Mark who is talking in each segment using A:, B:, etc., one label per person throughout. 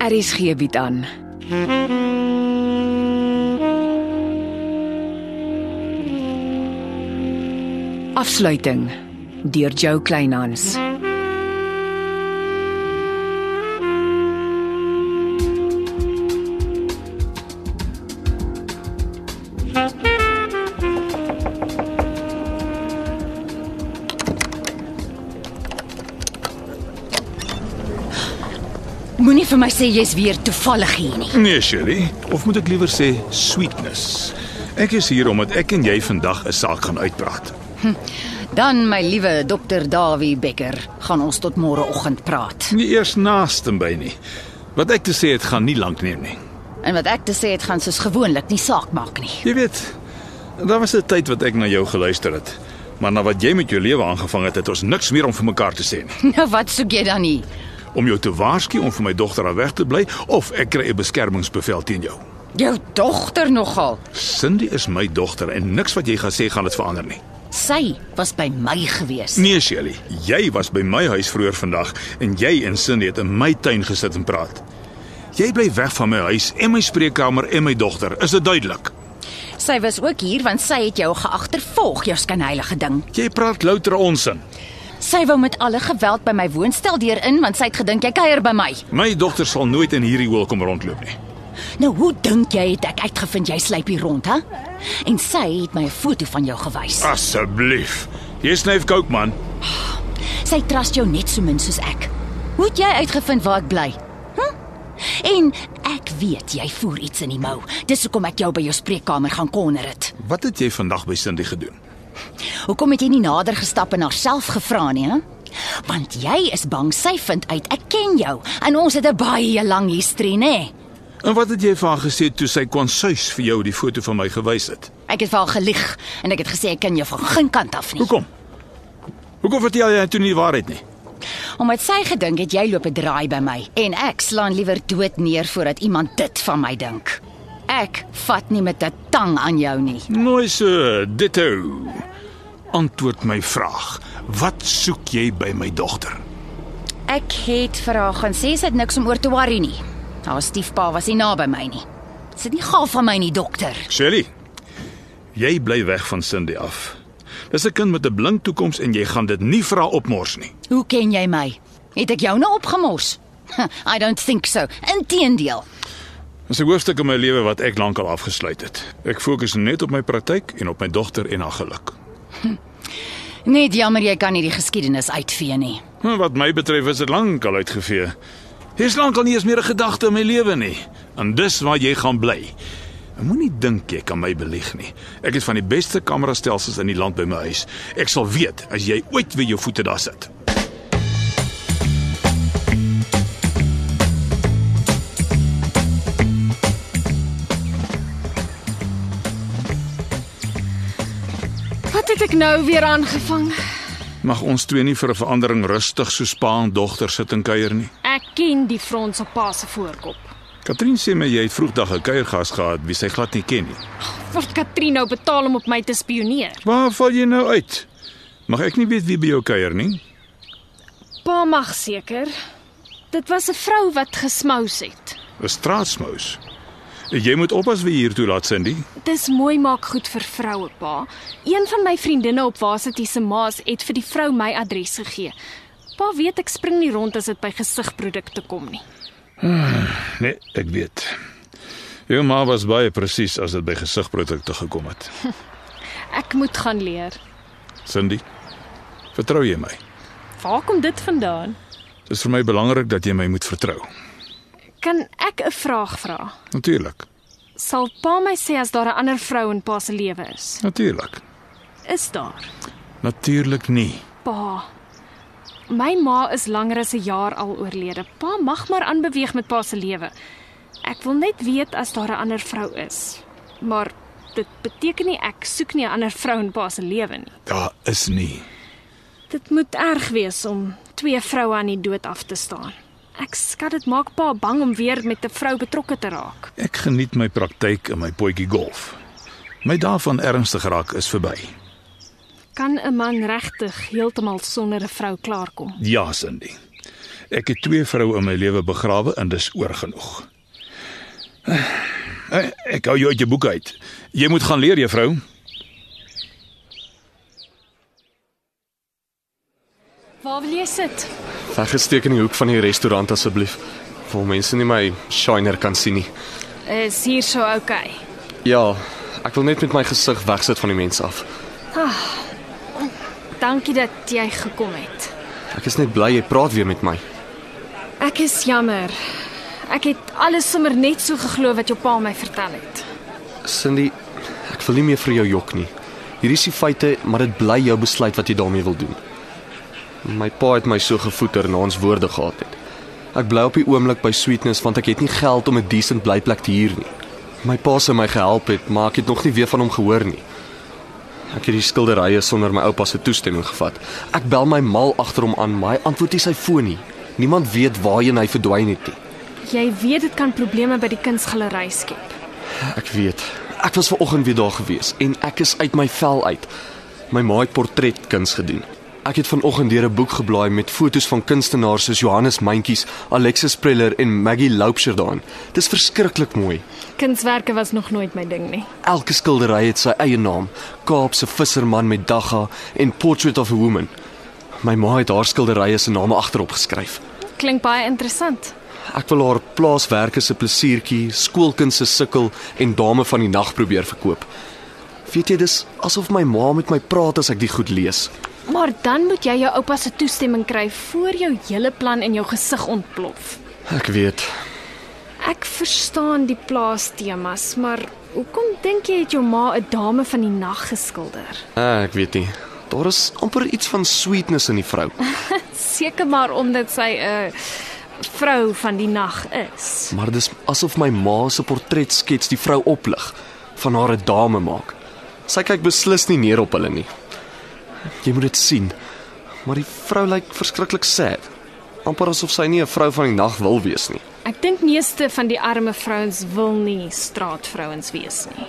A: RSG bied Er aan. Afsluiting deur Jo Kleinhans.
B: Moenie vir my sê jy's weer toevallig hier nie.
C: Nee, Shirley, of moet ek liewer sê sweetness. Ek is hier omdat ek en jy vandag 'n saak gaan uitpraat.
B: Dan my liewe dokter Dawie Becker, gaan ons tot môreoggend praat.
C: Nie eers naaste by nie. Wat ek te sê het gaan nie lank neem nie.
B: En wat ek te sê het gaan soos gewoonlik nie saak maak nie.
C: Jy weet, daar was 'n tyd wat ek na jou geluister het, maar na wat jy met jou lewe aangevang het, het ons niks meer om vir mekaar te sê nie.
B: Nou wat soek jy dan nie?
C: Om jou te waarsku om vir my dogter aan weg te bly of ek kry 'n beskermingsbevel teen jou.
B: Jou dogter nogal.
C: Cindy is my dogter en niks wat jy gaan sê gaan dit verander nie.
B: Sy was by my gewees.
C: Nee, Shirley, jy was by my huis vroeër vandag en jy en Cindy het in my tuin gesit en praat. Jy bly weg van my huis en my spreekkamer en my dogter. Is dit duidelik?
B: Sy was ook hier want sy het jou geagtervolg, jou skynheilige ding.
C: Jy praat louter onsin.
B: Sy wou met alle geweld by my woonstel deur in want sy het gedink jy kuier by my.
C: My dogter sal nooit in hierdie hoel kom rondloop nie.
B: Nou hoe dink jy het ek uitgevind jy slyp hier rond, hè? En sy het my 'n foto van jou gewys.
C: Ah. Asseblief. Jy snyf kook man.
B: Sy trust jou net so min soos ek. Hoe het jy uitgevind waar ek bly? Hm? En ek weet jy voer iets in die mou. Dis hoekom ek jou by jou spreekkamer gaan konner het.
C: Wat het jy vandag by Cindy gedoen?
B: Hoekom het jy nie nader gestap en haarself gevra nie, hè? Want jy is bang sy vind uit ek ken jou en ons het 'n baie lang historie, nê?
C: En wat het jy vir haar gesê toe sy konsuis vir jou die foto van my gewys het?
B: Ek het vir haar gelieg en ek het gesê ek ken jou van geen kant af nie.
C: Hoekom? Hoekom vertel jy toe nie die waarheid nie?
B: Omdat sy gedink het jy loop 'n draai by my en ek slaan liewer dood neer voordat iemand dit van my dink. Ek vat nie met 'n tang aan jou nie.
C: Mooi so, ditto. Antwoord my vraag. Wat soek jy by my dogter?
B: Ek het vir haar gaan sê sy het niks om oor te worry nie. Haar stiefpa was nie naby my nie. Sit nie gaaf van my nie, dokter.
C: Shirley. Jy bly weg van Cindy af. Dis 'n kind met 'n blink toekoms en jy gaan dit nie vra opmors nie.
B: Hoe ken jy my? Het ek jou nou opgemors? I don't think so. Inteendeel.
C: Dis 'n hoofstuk in my lewe wat ek lankal afgesluit het. Ek fokus net op my praktyk en op my dogter en haar geluk.
B: Net jammer jy kan nie die geskiedenis uitvee nie.
C: Maar Hm, Wat my betref is dit lankal uitgevee. Hier's lankal nie eens meer 'n gedagte in my lewe nie. En dis waar jy gaan bly. En Moenie dink jy kan my belieg nie. Ek het van die beste kamerastelsels in die land by my huis. Ek sal weet as jy ooit weer jou voete daar sit.
D: Wat het ek nou weer aangevang?
C: Mag ons twee nie vir 'n verandering rustig so pa en dogter sit en kuier nie.
D: Ek ken die frons op pa se voorkop.
C: Katrien sê my jy het vroegdag 'n kuiergas gehad wie sy glad nie ken nie.
D: Word Katrien nou betaal om op my te spioneer?
C: Waar val jy nou uit? Mag ek nie weet wie by jou kuier nie?
D: Pa mag seker. Dit was 'n vrou wat gesmous het.
C: 'n Straatsmous. Jy moet oppas wie jy hier toe laat Cindy.
D: Dis mooi maak goed vir vroue, pa. Een van my vriendinne op Wasetie se maas het vir die vrou my adres gegee. Pa weet ek spring nie rond as dit by gesigprodukte kom nie.
C: Nee, ek weet. Jou ma was baie presies as dit by gesigprodukte gekom het.
D: Ek moet gaan leer.
C: Cindy, vertrou jy my?
D: Waar kom dit vandaan?
C: Dit is vir my belangrik dat jy my moet vertrou.
D: Kan ek 'n vraag vra?
C: Natuurlik.
D: Sal pa my sê as daar 'n ander vrou in pa se lewe is?
C: Natuurlik.
D: Is daar?
C: Natuurlik nie.
D: Pa. My ma is langer as 'n jaar al oorlede. Pa mag maar aanbeweeg met pa se lewe. Ek wil net weet as daar 'n ander vrou is. Maar dit beteken nie ek soek nie 'n ander vrou in pa se lewe nie.
C: Daar is nie.
D: Dit moet erg wees om twee vroue aan die dood af te staan. Ek skat dit maak pa bang om weer met 'n vrou betrokke te raak.
C: Ek geniet my praktyk en my potjie golf. My dae van ernstig raak is verby.
D: Kan 'n man regtig heeltemal sonder 'n vrou klaarkom?
C: Ja, Cindy. Ek het twee vroue in my lewe begrawe en dis oorgenoeg. Eh, Ek hou jou uit jou boek uit. Jy moet gaan leer, juffrou.
D: Waar wil jy sit?
E: Weggesteek in die hoek van die restaurant asseblief. Waar mense nie my shiner kan sien nie.
D: Is hier so oukei.
E: Ja, ek wil net met my gesig wegsit van die mense af.
D: Dankie dat jy gekom het.
E: Ek is net bly jy praat weer met my.
D: Ek is jammer. Ek het alles sommer net so geglo wat jou pa my vertel het.
E: Cindy, ek wil nie meer vir jou jok nie. Hierdie is die feite, maar dit bly jou besluit wat jy daarmee wil doen. My pa het my so gevoeter na ons woorde gehad het. Ek bly op die oomblik by Sweetness want ek het nie geld om 'n decent blyplek te huur nie. My pa sou my gehelp het, maar ek het nog nie weer van hom gehoor nie. Ek het die skilderye sonder my oupa se toestemming gevat. Ek bel my mal agter hom aan, maar hy antwoord nie sy foon nie. Niemand weet waarheen hy verdwyn het nie.
D: Jy weet dit kan probleme by die kunsgalery skep.
E: Ek weet. Ek was ver oggend weer daar gewees en ek is uit my vel uit. My ma het portretkuns gedoen. Ek het vanoggend deur 'n boek geblaai met fotos van kunstenaars soos Johannes Mentjes, Alexis Preller en Maggie Loubser daarin. Dis verskriklik mooi.
D: Kunswerke was nog nooit my ding nie.
E: Elke skildery het sy eie naam: Kaapse visserman met dagga en Portrait of a Woman. My ma het haar skilderye se name agterop geskryf.
D: Klink baie interessant.
E: Ek wil haar plaaswerke se plesiertjie, skoolkind se sukkel en dame van die nag probeer verkoop. Weet jy dis asof my ma met my praat as ek die goed lees.
D: Maar dan moet jy jou oupa se toestemming kry voor jou hele plan in jou gesig ontplof.
E: Ek weet.
D: Ek verstaan die plaastemas, maar hoekom dink jy het jou ma 'n dame van die nag geskilder?
E: Ah, ek weet nie. Daar is amper iets van sweetness in die vrou.
D: Seker maar omdat sy 'n vrou van die nag is.
E: Maar dis asof my ma se portretskets die vrou oplig, van haar 'n dame maak. Sy kyk beslis nie neer op hulle nie. Jy moet dit sien. Maar die vrou lyk verskriklik sad. amper asof sy nie 'n vrou van die nag wil wees nie.
D: Ek dink meeste van die arme vrouens wil nie straatvrouens wees nie.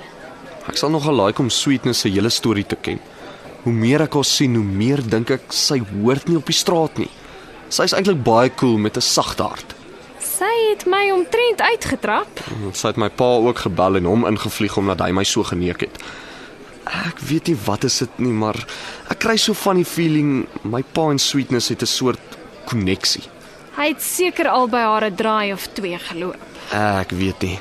E: Ek sal nogal like om Sweetness se hele storie te ken. Hoe meer ek haar sien, hoe meer dink ek sy hoort nie op die straat nie. Sy is eintlik baie cool met 'n sagte hart.
D: Sy het my omtrent uitgetrap.
E: Sy het my pa ook gebel en hom ingevlieg omdat hy my so geneek het. Ek weet nie wat is dit nie, maar ek kry so van die feeling my pa en Sweetness het 'n soort koneksie.
D: Hy het seker al by haar 'n draai of twee geloop.
E: Ek weet nie.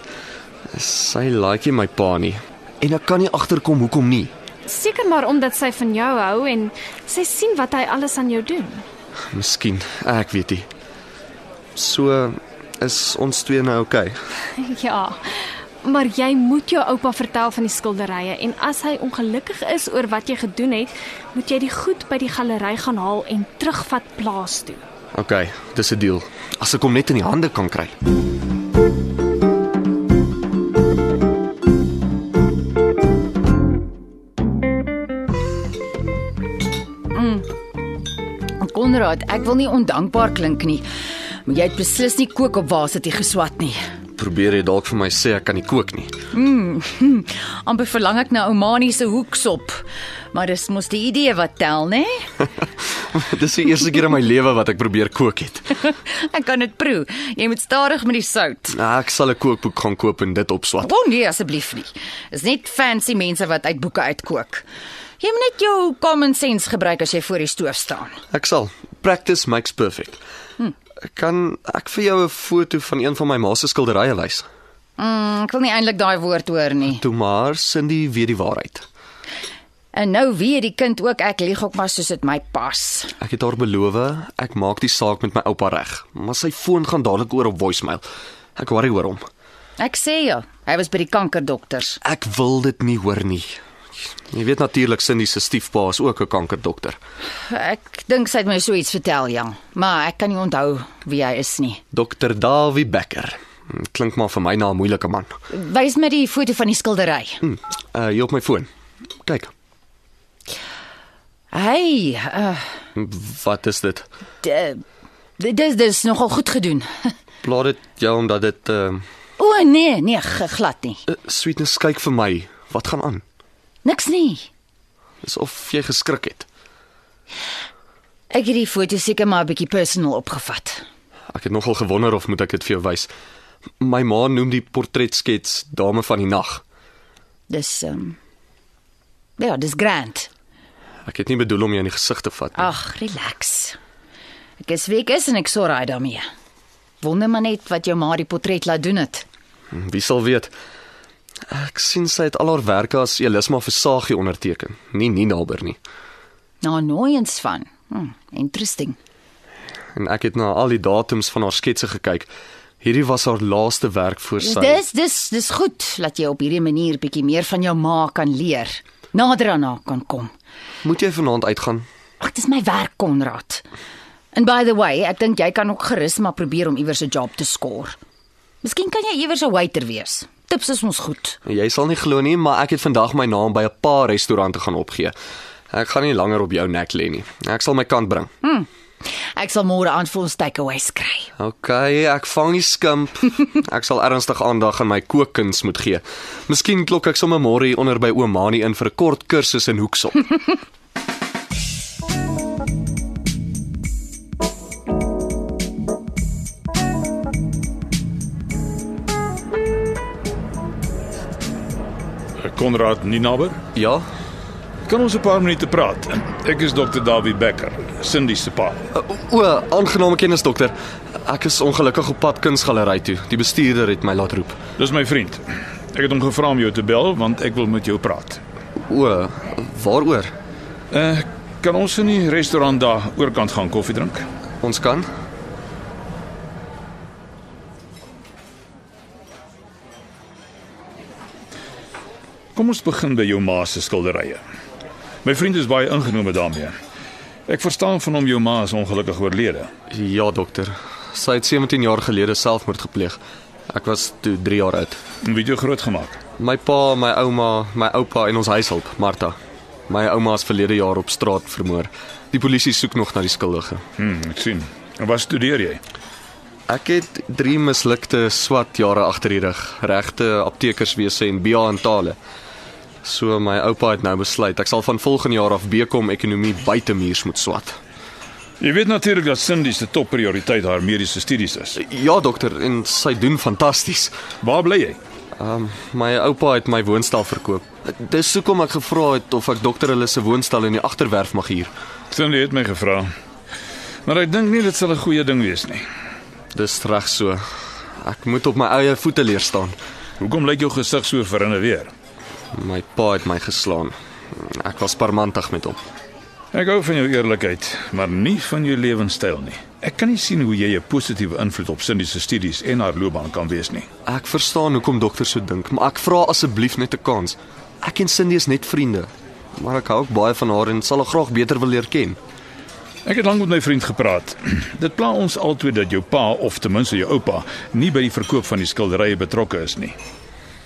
E: Sy like nie my pa nie en ek kan nie agterkom hoekom nie.
D: Seker maar omdat sy van jou hou en sy sien wat hy alles aan jou doen.
E: Miskien, ek weet nie. So is ons twee nou okay.
D: Ja. Maar jy moet jou oupa vertel van die skilderye en as hy ongelukkig is oor wat jy gedoen het, moet jy die goed by die galery gaan haal en terugvat plaas toe.
E: Okay, dis 'n deal. As ek hom net in die hande kan kry.
B: Konrad, ek wil nie ondankbaar klink nie, maar jy het beslis nie kook op waar sit jy geswat nie.
E: Probeer jy dalk vir my sê ek kan nie kook nie.
B: Hm, amper verlang ek na Oumani se hoeksop. Maar dis mos die idee wat tel, né?
E: dis die eerste keer in my lewe wat ek probeer kook het.
B: ek kan dit proe. Jy moet stadig met die sout.
E: Nou, ek sal 'n kookboek gaan koop en dit opswat.
B: O nee, asseblief nie. Dis net fancy mense wat uit boeke uitkook. Jy moet net jou common sense gebruik as jy voor die stoof staan.
E: Ek sal. Practice makes perfect. Kan ek vir jou 'n foto van een van my ma se skilderye lys?
B: Mm, ek wil nie eintlik daai woord hoor nie.
E: Toe maar Cindy weet die waarheid.
B: En nou weet die kind ook ek lieg ook maar soos dit my pas.
E: Ek het haar beloof, ek maak die saak met my oupa reg, maar sy foon gaan dadelik oor op voicemail. Ek worry oor hom.
B: Ek sê jou, hy was by die kankerdokters.
E: Ek wil dit nie hoor nie. Jy weet natuurlik Cindy se stiefpa is ook 'n kankerdokter.
B: Ek dink sy het my so iets vertel, ja, maar ek kan nie onthou wie hy is nie.
E: Dokter Dawie Becker. Klink maar vir my na 'n moeilike man.
B: Wys my die foto van die skildery.
E: Hm, uh hier op my foon. Kyk.
B: Hey, uh,
E: Wat is dit?
B: d- d- dis dis nogal goed gedoen.
E: Plaat dit jou omdat dit ehm uh,
B: O nee, nee, g- glad nie.
E: uh, sweetness kyk vir my. Wat gaan aan?
B: Niks nie.
E: Dis of jy geskrik het.
B: Ek het die foto seker maar 'n bietjie personal opgevat.
E: Ek het nogal gewonder of moet ek dit vir jou wys. My ma noem die portretskets Dame van die Nag.
B: Dis ehm um, Ja, dis grand.
E: Ek het nie bedoel om jou in die gesig te vat nie.
B: Ag, relax. Ek is wie ek is en ek sorry daarmee. Wonder maar net wat jou ma die portret laat doen het.
E: Wie sal weet? Ek sien sy het al haar werke as Elisma Versagie onderteken. Nie nie naboer nie.
B: Na nooiens van. Hm, interesting.
E: En ek het na al die datums van haar sketse gekyk. Hierdie was haar laaste werk voor sy.
B: Dis dis dis goed dat jy op hierdie manier bietjie meer van jou ma kan leer. Nader aan haar kan kom.
E: Moet jy vanaand uitgaan?
B: Ag, dis my werk, Konrad. And by the way, ek dink jy kan ook gerus maar probeer om iewers 'n job te skoor. Miskien kan jy iewers 'n waiter wees. Tips is ons goed.
E: Jy sal nie glo nie, maar ek het vandag my naam by 'n paar restaurante gaan opgee. Ek gaan nie langer op jou nek lê nie. Ek sal my kant bring.
B: Ek sal môre aan vir ons takeaways kry.
E: OK, ek vang die skimp. Ek sal ernstig aandag aan my kookkuns moet gee. Miskien klok ek sommer môre hier onder by Oomani in vir 'n kort kursus in hoeksel.
C: Konrad Ninaber,
E: ja?
C: kan ons 'n paar minute praat? Ek is dokter Dawie Becker, Cindy se pa.
E: O, aangename kennis dokter. Ek is ongelukkig op pad kunsgalery toe. Die bestuurder het my laat roep.
C: Dis my vriend. Ek het hom gevra om jou te bel want ek wil met jou praat.
E: O, waaroor?
C: Eh, kan ons in die restaurant daar oorkant gaan koffie drink?
E: Ons kan.
C: Kom ons begin by jou ma se skilderye. My vriend is baie ingenome daarmee. Ek verstaan van hom jou ma is ongelukkig oorlede.
E: Ja dokter. Sy het 17 jaar gelede selfmoord gepleeg. Ek was toe 3 jaar oud.
C: En wie het jou grootgemaak?
E: My pa, my ouma, my oupa en ons huishulp, Martha. My ouma is verlede jaar op straat vermoor. Die polisie soek nog na die skuldige.
C: Hm, ek sien. En wat studeer jy?
E: Ek het 3 mislukte swat jare agter die rug, regte aptekerswese en BA in tale. So my oupa het nou besluit ek sal van volgende jaar af BCom ekonomie buitemuurs moet swat.
C: Jy weet natuurlik dat Cindy se topprioriteit haar mediese studies is.
E: Ja dokter, en sy doen fantasties.
C: Waar bly jy?
E: My oupa het my woonstel verkoop. Dis hoekom ek gevra het of ek dokter hulle se woonstel in die agterwerf mag huur.
C: Cindy het my gevra. Maar ek dink nie dit sal 'n goeie ding wees nie.
E: Dis reg so. Ek moet op my eie voete leer staan.
C: Hoekom lyk jou gesig so verinne weer?
E: My pa het my geslaan. Ek was parmantig met hom.
C: Ek hou van jou eerlikheid, maar nie van jou lewenstyl nie. Ek kan nie sien hoe jy 'n positiewe invloed op Cindy se studies en haar loopbaan kan wees nie.
E: Ek verstaan hoekom dokters so dink, maar ek vra asseblief net 'n kans. Ek en Cindy is net vriende, maar ek hou ook baie van haar en sal haar graag beter wil leer ken.
C: Ek het lank met my vriend gepraat. Dit pla ons altyd dat jou pa of ten minste jou oupa nie by die verkoop van die skilderye betrokke is nie.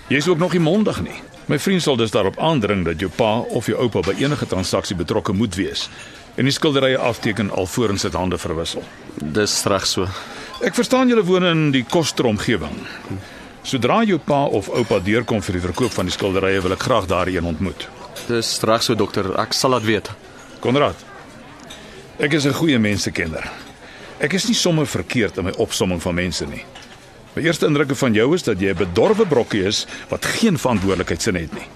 C: Jy's ook nog nie mondig nie. My vriend sal dus daarop aandring dat jou pa of jou oupa by enige transaksie betrokke moet wees en die skilderye afteken alvorens dit hande verwissel.
E: Dis reg so.
C: Ek verstaan julle woon in die koster omgewing. Sodra jou pa of oupa deurkom vir die verkoop van die skilderye, wil ek graag daarheen ontmoet.
E: Dis reg so dokter. Ek sal dit weet.
C: Konrad. Ek is 'n goeie mensekenner. Ek is nie sommer verkeerd in my opsomming van mense nie. My eerste indrukke van jou is dat jy 'n bedorwe brokkie is wat geen verantwoordelikheidsin het nie.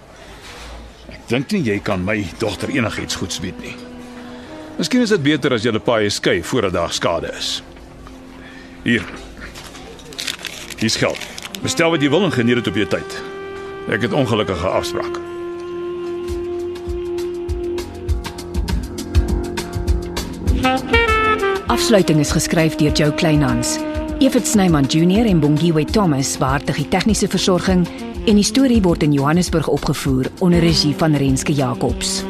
C: Ek dink nie jy kan my dogter enigiets goeds bied nie. Miskien is dit beter as jy hulle paai skei voordat daar skade is. Hier. Hier's geld. Bestel wat jy wil en geniet dit op jou tyd. Ek het ongelukkige afspraak.
A: Afsluiting is geskryf deur Jo Kleinhans. Evit Snyman Junior en Bongwe Thomas waartig die tegniese versorging en die storie word in Johannesburg opgevoer onder regie van Renske Jacobs.